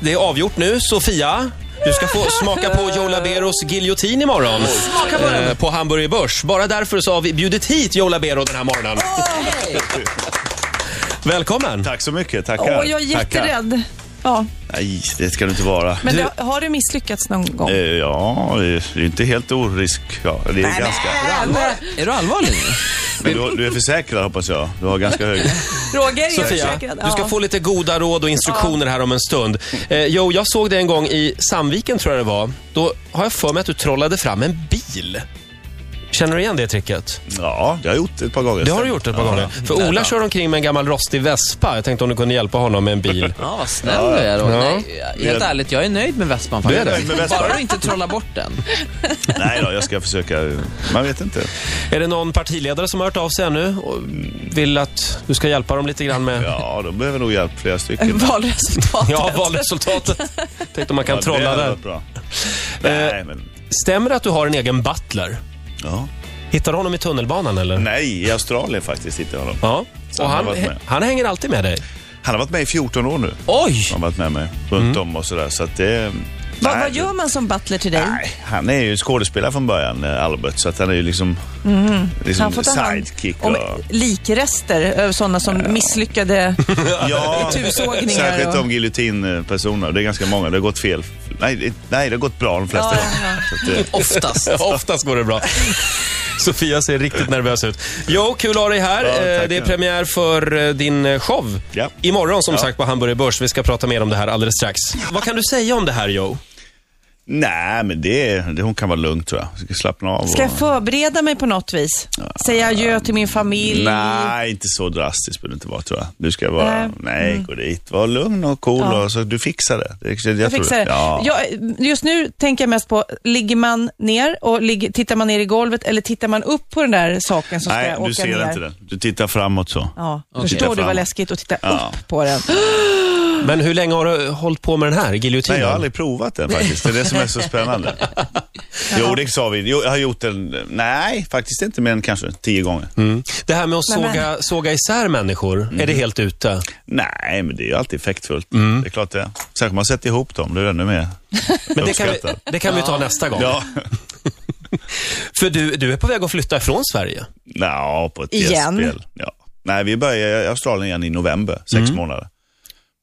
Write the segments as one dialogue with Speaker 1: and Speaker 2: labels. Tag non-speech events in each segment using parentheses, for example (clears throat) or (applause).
Speaker 1: det är avgjort nu. Sofia, du ska få smaka på Joe Laberos giljotin imorgon.
Speaker 2: Smaka på den.
Speaker 1: Eh, på Hamburger Börs. Bara därför så har vi bjudit hit Joe Labero den här morgonen. Välkommen!
Speaker 3: Tack så mycket,
Speaker 2: Åh,
Speaker 3: tackar.
Speaker 2: jag är
Speaker 3: Tackar.
Speaker 2: jätterädd. Ja,
Speaker 3: Nej, det ska du inte vara.
Speaker 2: men
Speaker 1: Du-
Speaker 2: det, har du misslyckats någon gång?
Speaker 3: Eh, Ja, det är ju inte helt orisk. Ja, det är ganska.
Speaker 4: Är du allvarlig?
Speaker 3: Men du, du är försäkrad hoppas jag. Du har ganska hög.
Speaker 2: Roger, jag
Speaker 1: Sofia,
Speaker 2: försäkrad.
Speaker 1: du ska
Speaker 2: (laughs) Ja.
Speaker 1: få lite goda råd och instruktioner här om en stund. Eh, jo, jag såg det en gång i Sandviken tror jag det var. Då har jag för mig att du trollade fram en bil. Känner du igen det tricket?
Speaker 3: Ja, jag har gjort det ett par gånger.
Speaker 1: Det har du gjort ett par
Speaker 3: Ja.
Speaker 1: gånger. För Ola kör omkring med en gammal rostig Vespa. Jag tänkte om du kunde hjälpa honom med en bil.
Speaker 4: Ja, vad snäll du är. Och,
Speaker 1: Ja.
Speaker 4: nej, helt
Speaker 3: Ja.
Speaker 4: ärligt, jag är nöjd med vespan
Speaker 1: Du är
Speaker 4: faktiskt.
Speaker 1: nöjd
Speaker 3: med vespan?
Speaker 4: Bara du inte trollar bort
Speaker 3: (laughs)
Speaker 4: den.
Speaker 3: Nej då, jag ska försöka. Man vet inte.
Speaker 1: Är det någon partiledare som har hört av sig ännu och vill att du ska hjälpa dem lite grann med
Speaker 3: Ja, de behöver nog hjälp flera
Speaker 2: (laughs)
Speaker 3: stycken.
Speaker 2: Valresultatet.
Speaker 1: ja, valresultatet? Tänkte om man kan
Speaker 3: Ja, det
Speaker 1: trolla
Speaker 3: hade
Speaker 1: där.
Speaker 3: varit bra. Nej, men...
Speaker 1: Stämmer det att du har en egen butler?
Speaker 3: Ja.
Speaker 1: Hittar du honom i tunnelbanan eller?
Speaker 3: Nej, i Australien faktiskt inte honom.
Speaker 1: Ja.
Speaker 3: Så
Speaker 1: Och
Speaker 3: han
Speaker 1: han,
Speaker 3: har varit med.
Speaker 1: han hänger alltid med dig.
Speaker 3: Han har varit med i 14 år nu.
Speaker 4: Oj!
Speaker 3: Han har varit med mig runt om och sådär. Så att det...
Speaker 2: Vad,
Speaker 3: Nej,
Speaker 2: vad
Speaker 3: det-
Speaker 2: gör man som butler till dig?
Speaker 3: Nej, han är ju skådespelare från början, eh, Albert, så att han är ju liksom, liksom
Speaker 2: Mm-hmm. Han får ta hand
Speaker 3: sidekick. Och,
Speaker 2: om (laughs) likrester, eh, sådana som
Speaker 3: (laughs)
Speaker 2: misslyckade...
Speaker 3: ja,
Speaker 2: tusågningar
Speaker 3: särskilt
Speaker 2: och-
Speaker 3: om giljotinpersoner. Det är ganska många. Det har gått fel. Nej, det- nej det har gått bra de flesta
Speaker 2: Ja,
Speaker 3: gånger.
Speaker 2: ja,
Speaker 3: Så att, eh,
Speaker 4: Oftast.
Speaker 1: Oftast går det (laughs) bra. Sofia ser riktigt nervös ut. Jo, kul att ha dig här.
Speaker 3: Ja, tack.
Speaker 1: Eh, det är premiär för eh, din eh, show
Speaker 3: Ja.
Speaker 1: imorgon som
Speaker 3: Ja.
Speaker 1: sagt på Hamburger Börs. Vi ska prata mer om det här alldeles strax. Vad kan du säga om det här Jo?
Speaker 3: Nej, men det, det, hon kan vara lugn tror jag. Jag Ska slappna av.
Speaker 2: Ska
Speaker 3: och,
Speaker 2: jag förbereda mig på något vis? Säga adjö till min familj?
Speaker 3: Nej, inte så drastiskt behöver det inte vara tror jag. Du ska vara,
Speaker 2: Nej. Mm.
Speaker 3: nej, gå dit. Var lugn och cool och så du fixar det. det jag
Speaker 2: Jag fixar det.
Speaker 3: Ja.
Speaker 2: Jag, just nu tänker jag mest på, ligger man ner och ligger, tittar man ner i golvet eller tittar man upp på den där saken som
Speaker 3: nej,
Speaker 2: ska åka
Speaker 3: du ser
Speaker 2: ner?
Speaker 3: inte det. Du tittar framåt så.
Speaker 2: Ja,
Speaker 3: Titta
Speaker 2: förstår du vad
Speaker 3: fram.
Speaker 2: läskigt att titta
Speaker 3: Ja.
Speaker 2: upp på den?
Speaker 1: Men hur länge har du hållit på med den här giljotinen?
Speaker 3: Nej, jag har aldrig provat den faktiskt. Det är det som är så spännande.
Speaker 1: (laughs)
Speaker 3: jo, det sa vi. Jo, jag har gjort den, nej, faktiskt inte mer än kanske tio gånger.
Speaker 1: Mm. Det här med att
Speaker 2: Men-
Speaker 1: såga, såga isär människor, är det
Speaker 3: Mm.
Speaker 1: helt ute?
Speaker 3: Nej, men det är ju alltid effektfullt. Det är klart det är. Särskilt om man sätter ihop dem, då är det ännu mer
Speaker 1: Mm. (laughs) Men det kan, vi,
Speaker 3: uppskattat.
Speaker 1: det kan vi ta nästa gång.
Speaker 3: Ja, (laughs)
Speaker 1: För du, du är på väg att flytta ifrån Sverige.
Speaker 3: Nå, på ett
Speaker 2: Igen?
Speaker 3: gästspel. Ja. Nej, vi börjar i Australien igen i november, sex månader. På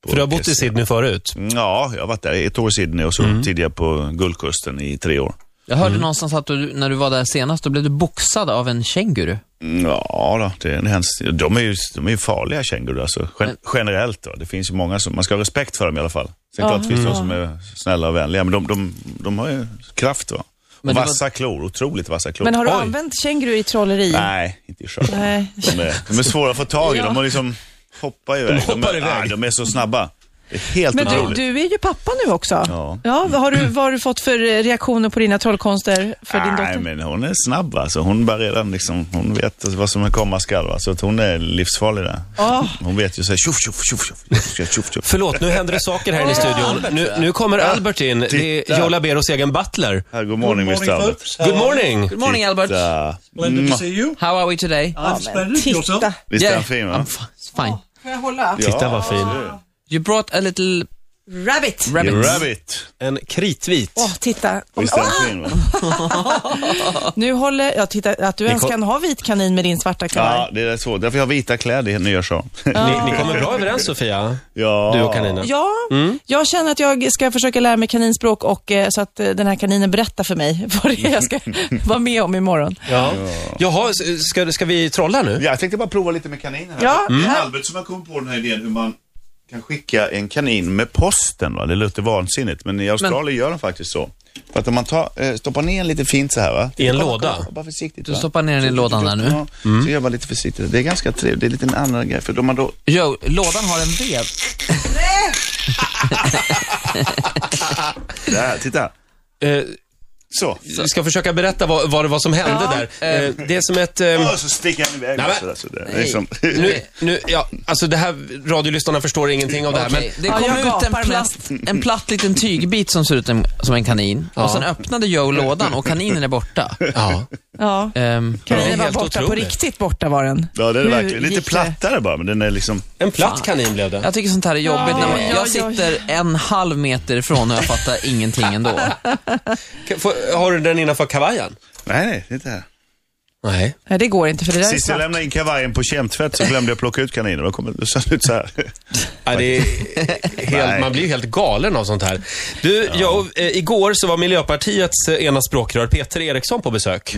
Speaker 1: Mm. För du har bott i
Speaker 3: Kessie.
Speaker 1: Sydney Mm. förut.
Speaker 3: Ja, jag har varit där ett år i Sydney och så tidigare på Guldkusten i tre år.
Speaker 4: Jag hörde
Speaker 3: Mm.
Speaker 4: någonstans att du, när du var där senast, då blev du boxad av en känguru.
Speaker 3: Mm, Ja, då, det är en hemskt, de, är ju, de är ju farliga kängurur alltså, gen, generellt. Då. Det finns ju många som, man ska ha respekt för dem i alla fall. Sen klart finns det de som är snälla och vänliga, men de, de, de har ju kraft. Va?
Speaker 4: Men
Speaker 3: Och
Speaker 4: det var-
Speaker 3: vassa klor, otroligt vassa klor.
Speaker 2: Men har du
Speaker 1: Oj.
Speaker 2: använt känguru i trolleri?
Speaker 3: Nej, inte i sjön.
Speaker 2: Nej.
Speaker 3: De är, de är svåra att få tag i, de har liksom hoppar iväg.
Speaker 1: De hoppar
Speaker 3: är,
Speaker 1: iväg.
Speaker 3: Ah, de är så snabba. Det är helt
Speaker 2: Men du,
Speaker 3: otroligt.
Speaker 2: du är ju pappa nu också.
Speaker 3: Ja.
Speaker 2: vad har du, vad har du fått för eh, reaktioner på dina trollkonster för din
Speaker 3: Nej,
Speaker 2: dotter?
Speaker 3: men hon är snabb alltså. Hon bär redan liksom, hon vet vad som komma skall. Va? Så att hon är livsfarlig där.
Speaker 2: Ja.
Speaker 3: Hon vet ju såhär tjoff, tjoff, tjoff, tjoff, tjoff, tjoff, tjoff, tjoff.
Speaker 1: Förlåt, nu händer det saker här inne i studion. Nu, nu kommer Albert in. Det är
Speaker 3: titta.
Speaker 1: Joe Laberos egen butler.
Speaker 3: Här, god morning, Mr. Albert.
Speaker 5: folks. How
Speaker 1: Good
Speaker 5: are-
Speaker 1: morning!
Speaker 4: Good morning Albert.
Speaker 3: Titta. Mm.
Speaker 5: Splendid to see you.
Speaker 4: How are we today?
Speaker 5: I'm splendid. Yourself?
Speaker 2: Titta.
Speaker 3: Visst är
Speaker 4: Yeah,
Speaker 3: han fin? Va?
Speaker 4: I'm fi- fine.
Speaker 2: Får jag hålla?
Speaker 3: Ja,
Speaker 1: Titta vad fin.
Speaker 4: You brought a little
Speaker 2: Rabbit.
Speaker 4: rabbit.
Speaker 3: Rabbit. Rabbit.
Speaker 1: En kritvit.
Speaker 2: Åh, titta.
Speaker 3: Visst är
Speaker 4: Ah!
Speaker 3: han fin? Va?
Speaker 2: Nu håller jag... Titta, att du ens
Speaker 1: kom-
Speaker 2: kan ha vit kanin med din svarta kavaj.
Speaker 3: Ja, det är så. Därför jag har vita kläder i nya show.
Speaker 1: Ni, ni kommer bra överens Sofia,
Speaker 3: (laughs) Ja.
Speaker 1: du och kaninen.
Speaker 2: Ja,
Speaker 1: Mm.
Speaker 2: jag känner att jag ska försöka lära mig kaninspråk och eh, så att eh, den här kaninen berättar för mig (laughs) vad det är jag ska
Speaker 3: (laughs)
Speaker 2: vara med om imorgon.
Speaker 1: Ja. Jaha, s- ska, ska vi trolla nu?
Speaker 3: Ja, Jag tänkte bara prova lite med kaninen. Här.
Speaker 2: Ja.
Speaker 3: Det
Speaker 2: Mm.
Speaker 3: är Albert som har kommit på den här idén hur man kan skicka en kanin med posten. Va? Det låter vansinnigt, men i Australien gör de faktiskt så. För att om man tar, eh, stoppar ner en lite fint så här va?
Speaker 1: I en
Speaker 3: Kolla,
Speaker 1: låda?
Speaker 3: kolla, Bara försiktigt.
Speaker 4: Du
Speaker 3: va?
Speaker 4: stoppar ner den i lådan där nu.
Speaker 3: Ja, Så gör man lite försiktigt. Det är ganska trevligt. Det är lite en annan grej. För då man då...
Speaker 4: Jo, lådan har en vev.
Speaker 3: Där, titta.
Speaker 1: Eh,
Speaker 3: Så.
Speaker 1: vi ska försöka berätta vad, vad det var som hände där. Eh, det är som ett... ehm,
Speaker 3: Och så sticker han iväg.
Speaker 1: Nej, men-
Speaker 3: och sådär, sådär. Det är liksom- som-
Speaker 1: nu, nu, ja, alltså det här, radiolyssnarna förstår ingenting av det här, men
Speaker 4: Okej, Det
Speaker 2: Ja,
Speaker 4: kom
Speaker 2: jag
Speaker 4: ut en
Speaker 2: gapar
Speaker 4: platt, en platt
Speaker 3: (laughs)
Speaker 4: liten tygbit som ser ut en, som en kanin. Och sen öppnade Joe lådan och kaninen är borta.
Speaker 1: Ja.
Speaker 2: Ja.
Speaker 4: Ehm,
Speaker 1: Det är
Speaker 2: Kaninen var
Speaker 1: helt
Speaker 2: borta på
Speaker 1: otroligt.
Speaker 2: riktigt borta var den.
Speaker 3: (laughs) Ja, det är det
Speaker 2: Nu
Speaker 3: verkligen. Lite
Speaker 2: gick det.
Speaker 3: plattare bara, men den är liksom...
Speaker 1: En platt kanin blev det.
Speaker 4: jag tycker sånt här är jobbigt. när man,
Speaker 2: ja,
Speaker 4: jag
Speaker 2: ja, ja.
Speaker 4: sitter en halv meter ifrån och jag fattar ingenting ändå.
Speaker 1: Får- Har du den innanför kavajen?
Speaker 3: Nej, nej, det är inte här.
Speaker 1: Nej.
Speaker 2: Nej, det går inte för det där är
Speaker 3: Sist jag
Speaker 2: svart.
Speaker 3: lämnade in kavajen på kemtvätt så glömde jag plocka ut kaninen. Då kom det såg den ut så här.
Speaker 1: Ja, det är (laughs) helt,
Speaker 3: Nej.
Speaker 1: man blir ju helt galen av sånt här. Du, jag, eh, igår så var Miljöpartiets eh, ena språkrör Peter Eriksson på besök.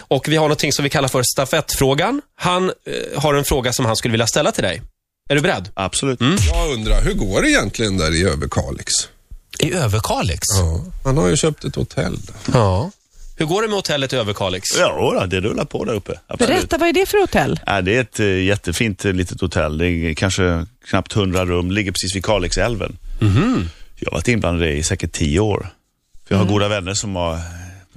Speaker 1: Och vi har någonting som vi kallar för stafettfrågan. Han eh, har en fråga som han skulle vilja ställa till dig. Är du beredd?
Speaker 3: Absolut.
Speaker 6: Jag undrar, hur går det egentligen där i Överkalix?
Speaker 1: I Överkalix?
Speaker 6: Ja, man har ju köpt ett hotell.
Speaker 1: Ja. Hur går det med hotellet i Överkalix?
Speaker 3: Ja, då, det rullar på där uppe. Absolut.
Speaker 2: Berätta, vad är det för hotell?
Speaker 3: Ja, det är ett eh, jättefint eh, litet hotell. Det är kanske knappt 100 rum. Ligger precis vid Kalixälven. Jag har varit inblandad i det i säkert 10 år. För jag har goda vänner som har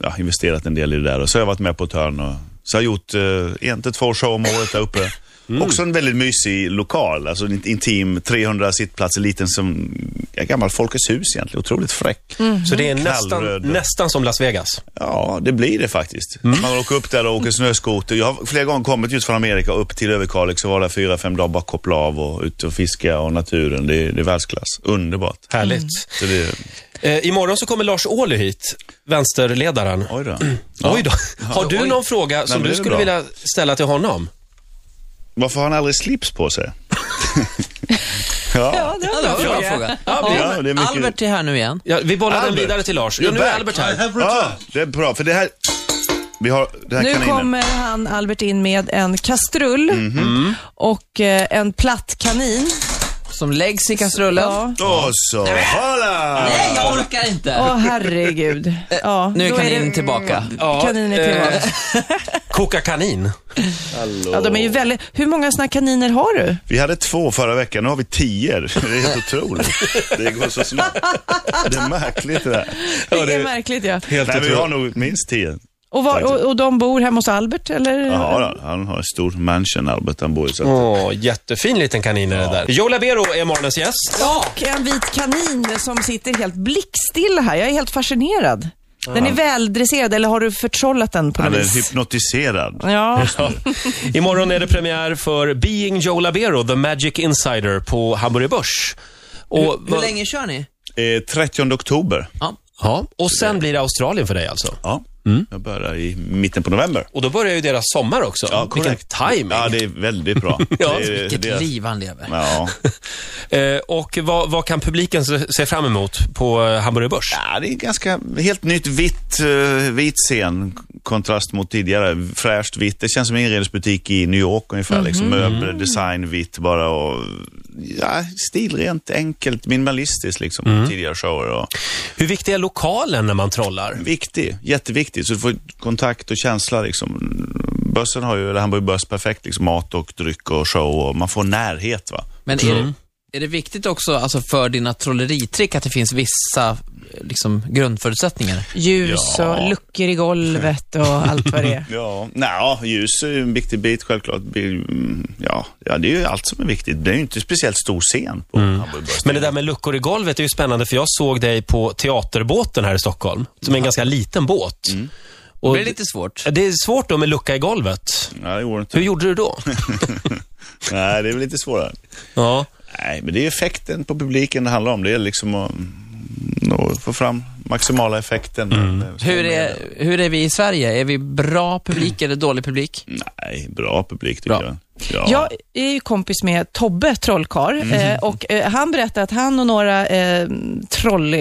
Speaker 3: ja, investerat en del i det där. Och så har jag varit med på ett hörn. Och, så har jag gjort eh, en till två show om året där uppe. Också en väldigt mysig lokal. Alltså en intim, 300 sittplatser, liten som ja, gammal Folkets hus egentligen. Otroligt fräck.
Speaker 1: Så det är nästan,
Speaker 3: Knallröd.
Speaker 1: nästan som Las Vegas.
Speaker 3: Ja, det blir det faktiskt. Man åker upp där och åker snöskoter. Jag har flera gånger kommit just från Amerika upp till Överkalix och var där fyra, fem dagar bara koppla av och ut och fiska och naturen. Det är, det är världsklass. Underbart.
Speaker 1: Härligt.
Speaker 3: Så det är,
Speaker 1: Eh, imorgon så kommer Lars Ohly hit, vänsterledaren.
Speaker 3: oj då.
Speaker 1: Oj då. Har du
Speaker 4: Oj.
Speaker 1: någon fråga som
Speaker 3: men det
Speaker 1: du
Speaker 3: är
Speaker 1: skulle
Speaker 3: bra.
Speaker 1: vilja ställa till honom?
Speaker 3: Varför har han aldrig slips på sig? (laughs) ja.
Speaker 2: det
Speaker 4: Ja, det var en bra fråga.
Speaker 3: Ja, det är mycket-
Speaker 4: Albert är här nu igen.
Speaker 1: Ja, vi bollar den
Speaker 3: Albert.
Speaker 1: vidare till Lars.
Speaker 3: You're
Speaker 1: Ja, nu är
Speaker 3: back.
Speaker 1: Albert
Speaker 3: (laughs)
Speaker 5: I
Speaker 1: här.
Speaker 5: have
Speaker 3: ja,
Speaker 5: returned.
Speaker 3: det är bra. För det här... Vi har den här
Speaker 2: Nu
Speaker 3: kaninen.
Speaker 2: kommer han, Albert, in med en kastrull och eh, en platt kanin.
Speaker 4: Som läggs i kastrullen.
Speaker 2: Ja.
Speaker 3: Och så, hola!
Speaker 4: Nej, jag orkar inte.
Speaker 2: Åh, herregud. Ja,
Speaker 4: nu
Speaker 2: då
Speaker 4: är kaninen
Speaker 2: det-
Speaker 4: tillbaka.
Speaker 1: Ja,
Speaker 2: Kaninen är
Speaker 1: eh,
Speaker 2: tillbaka.
Speaker 1: Koka kanin.
Speaker 2: Ja, de är ju väldigt... Hur många såna här kaniner har du?
Speaker 3: Vi hade två förra veckan, nu har vi tio. Det är helt otroligt. Det går så snabbt. Det är märkligt det där.
Speaker 2: det är märkligt ja.
Speaker 1: Helt
Speaker 3: Nej, vi har nog minst tio.
Speaker 2: Och, var, och, och de bor hemma hos Albert, eller?
Speaker 3: Ja, då, han har en stor mansion, Albert, han bor i. Så att,
Speaker 1: Åh, jättefin liten kanin är det där. Joe Labero är morgonens gäst.
Speaker 2: Och en vit kanin som sitter helt blickstill här. Jag är helt fascinerad. Den är väldresserad, eller har du förtrollat den på
Speaker 3: han
Speaker 2: något
Speaker 3: är
Speaker 2: vis?
Speaker 3: hypnotiserad.
Speaker 2: Ja,
Speaker 1: Imorgon är det premiär för Being Joe Labero, The Magic Insider på Hamburger Börs. Och,
Speaker 4: Hur
Speaker 1: vad-
Speaker 4: länge kör ni?
Speaker 3: Eh, 30 oktober.
Speaker 4: Ja.
Speaker 1: Ja, och sen blir det Australien för dig alltså.
Speaker 3: Ja, jag börjar i mitten på november.
Speaker 1: Och då börjar ju deras sommar också.
Speaker 3: Ja,
Speaker 1: Vilken
Speaker 3: korrekt.
Speaker 1: timing.
Speaker 3: Ja, det är väldigt bra.
Speaker 1: (laughs) Ja,
Speaker 3: det är,
Speaker 4: Vilket
Speaker 3: det är-
Speaker 4: liv han lever.
Speaker 3: Ja.
Speaker 1: Eh, och vad, vad kan publiken se, se fram emot på eh, Hamburger Börs?
Speaker 3: ja, det är ganska helt nytt vitt, eh, vit scen. Kontrast mot tidigare. Fräscht vitt. Det känns som en inredningsbutik i New York ungefär.
Speaker 1: Mhm.
Speaker 3: Liksom. Möbler, design, vitt bara. Och, ja, stilrent, enkelt, minimalistiskt liksom.
Speaker 1: Mhm.
Speaker 3: Tidigare shower. Och,
Speaker 1: Hur viktig är lokalen när man trollar?
Speaker 3: Viktig, jätteviktig. Så du får kontakt och känsla liksom. Börsen har ju, eller Hamburg Börs, perfekt liksom mat och dryck och show och man får närhet va.
Speaker 4: Men är,
Speaker 3: Mm.
Speaker 4: det, är det viktigt också alltså, för dina trolleritrick att det finns vissa eh, liksom, grundförutsättningar?
Speaker 2: ljus
Speaker 3: Ja.
Speaker 2: och luckor i
Speaker 3: (laughs)
Speaker 2: golvet och allt vad det är.
Speaker 3: Ja, nja, ljus är ju en viktig bit självklart. Bil- mm, Ja, ja, det är ju allt som är viktigt. Det är ju inte speciellt stor scen på Hamburg Börs.
Speaker 1: Mm. Men det där med luckor i golvet är ju spännande för jag såg dig på teaterbåten här i Stockholm, som är en ganska liten båt. Och
Speaker 4: Det är lite svårt.
Speaker 1: Mm. det är svårt då med lucka i golvet.
Speaker 3: Nej, det går inte.
Speaker 1: Hur gjorde du då?
Speaker 3: Nej, det är väl lite svårare.
Speaker 1: (laughs) ja.
Speaker 3: Nej, men det är effekten på publiken det handlar om. Det är liksom att, mm, att få fram maximala effekten.
Speaker 1: Mm.
Speaker 4: Hur är, hur är vi i Sverige? Är vi bra
Speaker 3: (clears throat)
Speaker 4: publik eller dålig publik?
Speaker 3: Nej, bra publik tycker
Speaker 4: Bra.
Speaker 3: jag.
Speaker 2: Jag är ju kompis med Tobbe Trollkar
Speaker 3: Mm.
Speaker 2: eh, och eh, han berättade att han och några eh, troll,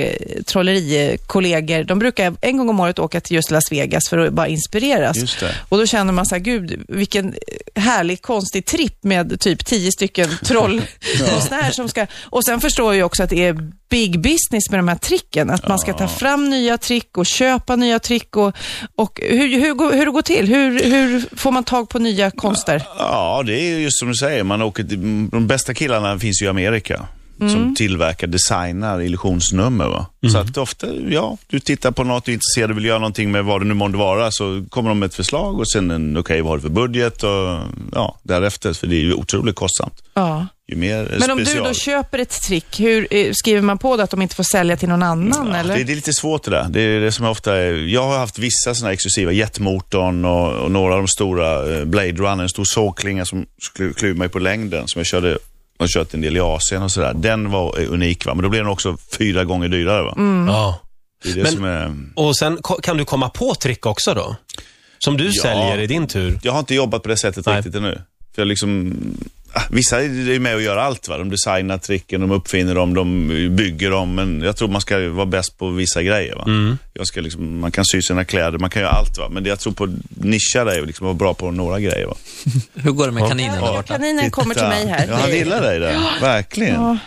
Speaker 2: trollerikollegor, de brukar en gång om året åka till just Las Vegas för att bara inspireras.
Speaker 3: Just det.
Speaker 2: Och då känner man så här, gud vilken härlig konstig tripp med typ tio stycken
Speaker 3: (laughs)
Speaker 2: (laughs) trollkonstnärer som ska... Och sen förstår jag också att det är big business med de här tricken, att man ska ta fram nya trick och köpa nya trick och, och hur, hur, går- hur det går till. Hur, hur får man tag på nya konster?
Speaker 3: Ja, det är ju just som du säger. Man åker till, de bästa killarna finns ju i Amerika.
Speaker 2: Mm.
Speaker 3: Som tillverkar, designar illusionsnummer. Va? Så att ofta, ja, du tittar på något, du är intresserad och vill göra någonting med vad det nu månde vara. Så kommer de med ett förslag och sen, en, okej, vad har du för budget? Och, ja, därefter, för det är ju otroligt kostsamt.
Speaker 2: Ja.
Speaker 3: ju mer eh,
Speaker 2: Men om
Speaker 3: special.
Speaker 2: du då köper ett trick, hur eh, skriver man på det att de inte får sälja till någon annan?
Speaker 3: Ja,
Speaker 2: eller?
Speaker 3: Det, det är lite svårt det där. Det är det som ofta är, jag har haft vissa sådana exklusiva, jetmotorn och, och några av de stora, eh, Blade Runner, en stor sågklinga som sklu- kluv mig på längden som jag körde jag har kört en del i Asien och sådär. Den var eh, unik va, men då blev den också fyra gånger dyrare va.
Speaker 1: Ja.
Speaker 3: Det är det
Speaker 1: Mm. Men-
Speaker 3: som är...
Speaker 1: Och sen ko- kan du komma på trick också då? Som du
Speaker 3: Ja.
Speaker 1: säljer i din tur.
Speaker 3: Jag har inte jobbat på det sättet
Speaker 1: Nej.
Speaker 3: riktigt ännu. För jag liksom, ah, vissa är ju med och gör allt. Va? De designar tricken, de uppfinner dem, de bygger dem. Men jag tror man ska vara bäst på vissa grejer. Va? Jag ska liksom, man kan sy sina kläder, man kan göra allt. Va? Men det jag tror på nischa dig och liksom vara bra på några grejer. Va?
Speaker 4: Hur går det med kaninen där borta?
Speaker 2: Kaninen kommer till
Speaker 3: Titta.
Speaker 2: mig här.
Speaker 3: Ja, han
Speaker 2: Det-
Speaker 3: gillar dig där. Verkligen.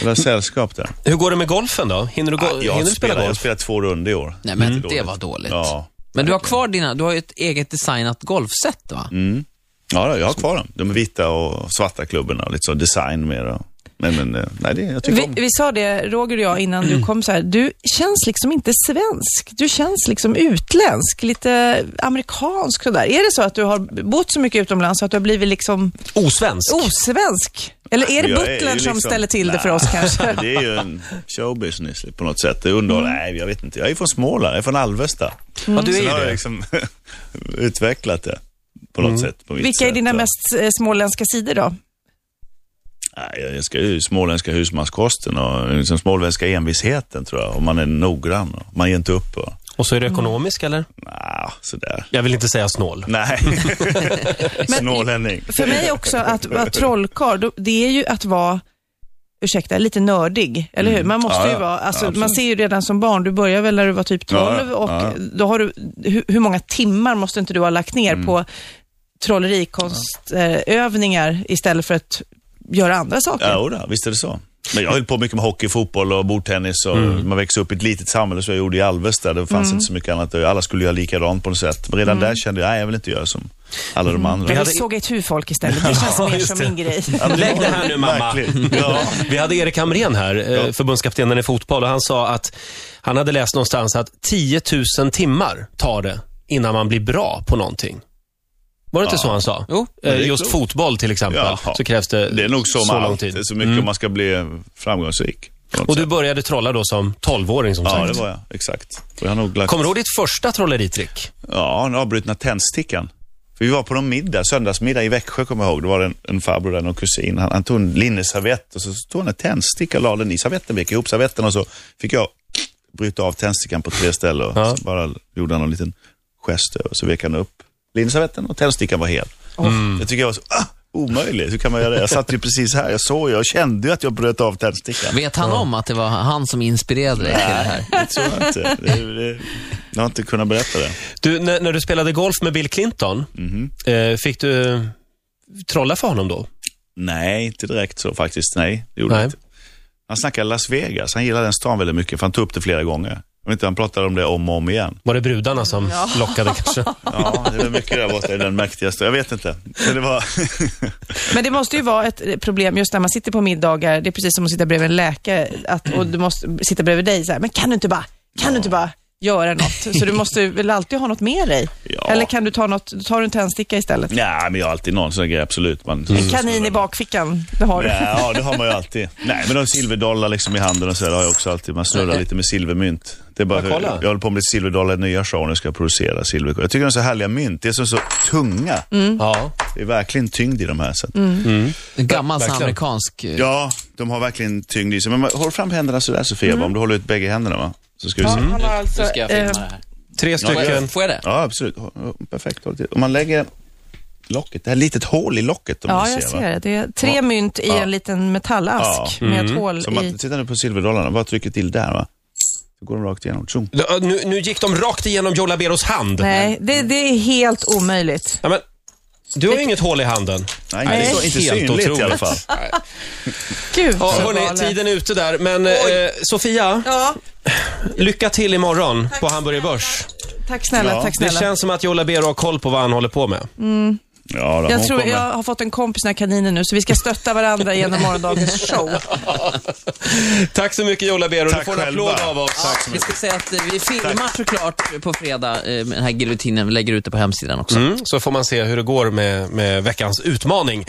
Speaker 3: Det där sällskap där. Ah,
Speaker 1: Hur går det med golfen då? Hinner du, gå,
Speaker 3: jag,
Speaker 1: hinner
Speaker 3: har
Speaker 1: du spela
Speaker 3: spelat, jag har
Speaker 1: golf?
Speaker 3: spelat två runder i år.
Speaker 4: Nej, men
Speaker 3: Lite
Speaker 4: det var dåligt.
Speaker 3: Ja.
Speaker 4: Men du har kvar dina, du har ju ett eget designat golfset va?
Speaker 1: Mm.
Speaker 3: Ja, jag har kvar dem. De är vita och svarta klubborna och lite så design mer. Och, men, men, eh, nej, det, jag tycker
Speaker 2: Vi,
Speaker 3: om
Speaker 2: vi sa det, Roger och jag, innan du kom så här, du känns liksom inte svensk. Du känns liksom utländsk, lite amerikansk sådär. Är det så att du har bott så mycket utomlands så att du har blivit liksom
Speaker 1: Osvensk?
Speaker 2: osvensk? Eller är det
Speaker 3: Jag är ju
Speaker 2: butlern som
Speaker 3: liksom-
Speaker 2: ställer till det för oss
Speaker 3: Nej.
Speaker 2: kanske?
Speaker 3: (laughs) Det är ju en showbusiness på något sätt. Det underhåller.
Speaker 2: Mm.
Speaker 3: Nej, jag vet inte. Jag är från Småland. Jag är från Alvesta.
Speaker 1: Ja, du är
Speaker 3: Sen
Speaker 1: ju
Speaker 3: har jag
Speaker 1: det.
Speaker 3: liksom (laughs) utvecklat det på något sätt. På mitt
Speaker 2: Mm. Vilka är
Speaker 3: sätt.
Speaker 2: dina
Speaker 3: Och-
Speaker 2: mest eh, småländska sidor då?
Speaker 3: Nej, jag älskar ju småländska husmanskosten och liksom småländska envisheten tror jag. Om man är noggrann och man ger inte upp. Och,
Speaker 1: Och så är du ekonomisk eller?
Speaker 3: nah, sådär.
Speaker 1: Jag vill inte säga snål.
Speaker 3: Nej, (laughs) snålänning.
Speaker 2: För mig också,
Speaker 3: (laughs)
Speaker 2: att vara trollkarl, då- det är ju att vara Ursäkta, lite nördig, eller hur? Man måste
Speaker 3: Mm. Ja,
Speaker 2: ju
Speaker 3: ja.
Speaker 2: vara, alltså,
Speaker 3: Absolut.
Speaker 2: man ser ju redan som barn, du börjar väl när du var typ 12
Speaker 3: Ja,
Speaker 2: och
Speaker 3: ja.
Speaker 2: då har du, hur, hur många timmar måste inte du ha lagt
Speaker 3: Mm.
Speaker 2: ner på trollerikonstövningar istället för att göra andra saker?
Speaker 3: Ja, jodå, visst är det så. Men jag höll på mycket med hockey, fotboll och bordtennis. Och
Speaker 1: Mm.
Speaker 3: Man växte upp i ett litet samhälle som jag gjorde i Alvesta. Det fanns inte så mycket annat. att göra. Alla skulle göra likadant på något sätt. Men redan
Speaker 1: Mm.
Speaker 3: där kände jag, nej jag vill inte göra som alla de andra.
Speaker 2: Jag
Speaker 1: hade-
Speaker 2: vill såga itu folk istället,
Speaker 3: (laughs)
Speaker 2: det känns mer
Speaker 1: just
Speaker 2: som
Speaker 1: det.
Speaker 2: min grej.
Speaker 1: Lägg det här nu (laughs) mamma.
Speaker 3: Verkligen. Ja.
Speaker 1: Vi hade Erik Hamrén här, eh, förbundskaptenen i fotboll, och han sa att han hade läst någonstans att 10 000 timmar tar det innan man blir bra på någonting. Var det inte så han sa?
Speaker 4: Jo,
Speaker 1: Eh,
Speaker 3: det är
Speaker 1: Just
Speaker 3: klokt.
Speaker 1: fotboll till exempel,
Speaker 3: Jaha.
Speaker 1: så krävs det,
Speaker 3: Det är nog så med
Speaker 1: lång
Speaker 3: allt. Det är
Speaker 1: tid. Mm.
Speaker 3: så mycket om man ska bli framgångsrik. på något
Speaker 1: Och du
Speaker 3: sätt.
Speaker 1: började trolla då som 12-åring som
Speaker 3: Ja,
Speaker 1: sagt.
Speaker 3: det var jag. Exakt. Och jag har nog lagt...
Speaker 1: Kommer du ihåg ditt första trolleritrick?
Speaker 3: Ja, den avbrutna tändstickan. För vi var på någon middag, söndagsmiddag i Växjö kommer jag ihåg. Det var en, en farbror där, någon kusin. Han, han tog en linneservett och så tog han en tändsticka och la den i servetten. Vek ihop servetten och så fick jag bryta av tändstickan på tre ställen. Och
Speaker 1: Ja.
Speaker 3: så bara gjorde han en liten gest över. Så vek han upp linneservetten och tändstickan var hel. Jag tycker jag var så, ah, omöjligt. Hur kan man göra det? Jag satt ju precis här, jag såg ju, jag kände ju att jag bröt av tändstickan.
Speaker 4: Vet han om att det var han som inspirerade dig till det här?
Speaker 3: Det tror jag inte. Det, det, jag har inte kunnat berätta det.
Speaker 1: Du, när, när du spelade golf med Bill Clinton,
Speaker 3: Mhm.
Speaker 1: eh, fick du trolla för honom då?
Speaker 3: Nej, inte direkt så faktiskt. Nej, det gjorde
Speaker 1: Nej.
Speaker 3: jag inte. Han snackade Las Vegas. Han gillade den stan väldigt mycket, för han tog upp det flera gånger. Jag vet inte, han pratade om det om och om igen.
Speaker 1: Var det brudarna som lockade
Speaker 3: (laughs)
Speaker 1: kanske?
Speaker 3: Ja, det var mycket där borta i den mäktiga staden. Jag vet inte. Men det
Speaker 2: (laughs)
Speaker 3: var...
Speaker 2: Men det måste ju vara ett eh, problem just när man sitter på middagar, det är precis som att sitta bredvid en läkare att, och du måste sitta bredvid dig så här, men kan du inte bara, kan du inte bara göra något? Så du måste ju väl alltid ha något med dig?
Speaker 3: Ja.
Speaker 2: Eller kan du ta något, tar du en tändsticka istället?
Speaker 3: Nej, men jag har alltid någon sån grej, absolut. Man...
Speaker 2: Kanin i bakfickan, det har du.
Speaker 3: Ja, ja, det har man ju alltid. Nej, men de silverdollar liksom i handen och så där, det har jag också alltid. Man snurrar lite med silvermynt. Det är bara,
Speaker 1: Ja, kolla.
Speaker 3: jag håller på med lite silverdollar i nya showen. Jag ska producera silver. Jag tycker de är så härliga mynt. Det är så, så tunga.
Speaker 2: Mm.
Speaker 1: Ja.
Speaker 3: Det är verkligen tyngd i de här. Så att...
Speaker 4: En gammal sån
Speaker 1: Verkligen.
Speaker 4: amerikansk... eh,
Speaker 3: Ja, de har verkligen tyngd i sig. Men man- håll fram händerna sådär Sofia,
Speaker 2: Mm.
Speaker 3: om du håller ut bägge händerna va? Så ska vi se.
Speaker 2: Han har alltså,
Speaker 4: Nu ska jag filma
Speaker 2: eh,
Speaker 4: det här.
Speaker 1: Tre
Speaker 4: Får
Speaker 1: stycken.
Speaker 4: jag, får jag det?
Speaker 3: Ja, absolut. Hå- hå- Perfekt. Håll till. Om man lägger locket, det här litet hål i locket om
Speaker 2: ja,
Speaker 3: du
Speaker 2: jag
Speaker 3: ser.
Speaker 2: ser
Speaker 3: va?
Speaker 2: det. Det är tre
Speaker 3: Ja.
Speaker 2: mynt i
Speaker 3: Ja.
Speaker 2: en liten metallask
Speaker 3: Ja.
Speaker 2: med ett hål
Speaker 3: Som
Speaker 2: i.
Speaker 3: att, titta nu på silverdollarna, bara trycker till där va? Så går de rakt igenom. Tjong.
Speaker 1: Ja, Nu, nu gick de rakt igenom Joe Laberos hand.
Speaker 2: Nej, det, det är helt omöjligt.
Speaker 1: Ja, men, du har ju inget hål i handen.
Speaker 3: Nej, inte,
Speaker 1: Nej.
Speaker 3: så, inte
Speaker 1: Helt
Speaker 3: synligt i alla
Speaker 1: otroligt.
Speaker 3: fall.
Speaker 2: Gud,
Speaker 1: Ja,
Speaker 2: så
Speaker 1: hörni,
Speaker 2: galet.
Speaker 1: tiden är ute där. Men eh, Sofia,
Speaker 2: Ja,
Speaker 1: lycka till imorgon på Hamburger Börs.
Speaker 2: tack snälla,
Speaker 3: Ja.
Speaker 2: tack
Speaker 1: Det
Speaker 2: snälla.
Speaker 1: känns som att Joe Labero har koll på vad han håller på
Speaker 2: (laughs)
Speaker 1: med.
Speaker 3: Ja, då,
Speaker 2: Jag
Speaker 3: hon
Speaker 2: tror
Speaker 3: kommer.
Speaker 2: jag har fått en kompis när kaninen nu, så vi ska stötta varandra genom morgondagens show.
Speaker 1: Tack så mycket Joe Labero. Du
Speaker 3: Tack
Speaker 1: får en
Speaker 3: själva.
Speaker 1: applåd av oss.
Speaker 3: Tack så
Speaker 4: Vi
Speaker 3: mycket.
Speaker 4: ska säga att eh, vi filmar såklart på fredag eh, med den här giljotinen. Vi lägger ut det på hemsidan också.
Speaker 1: Mm, så får man se hur det går med, med veckans utmaning.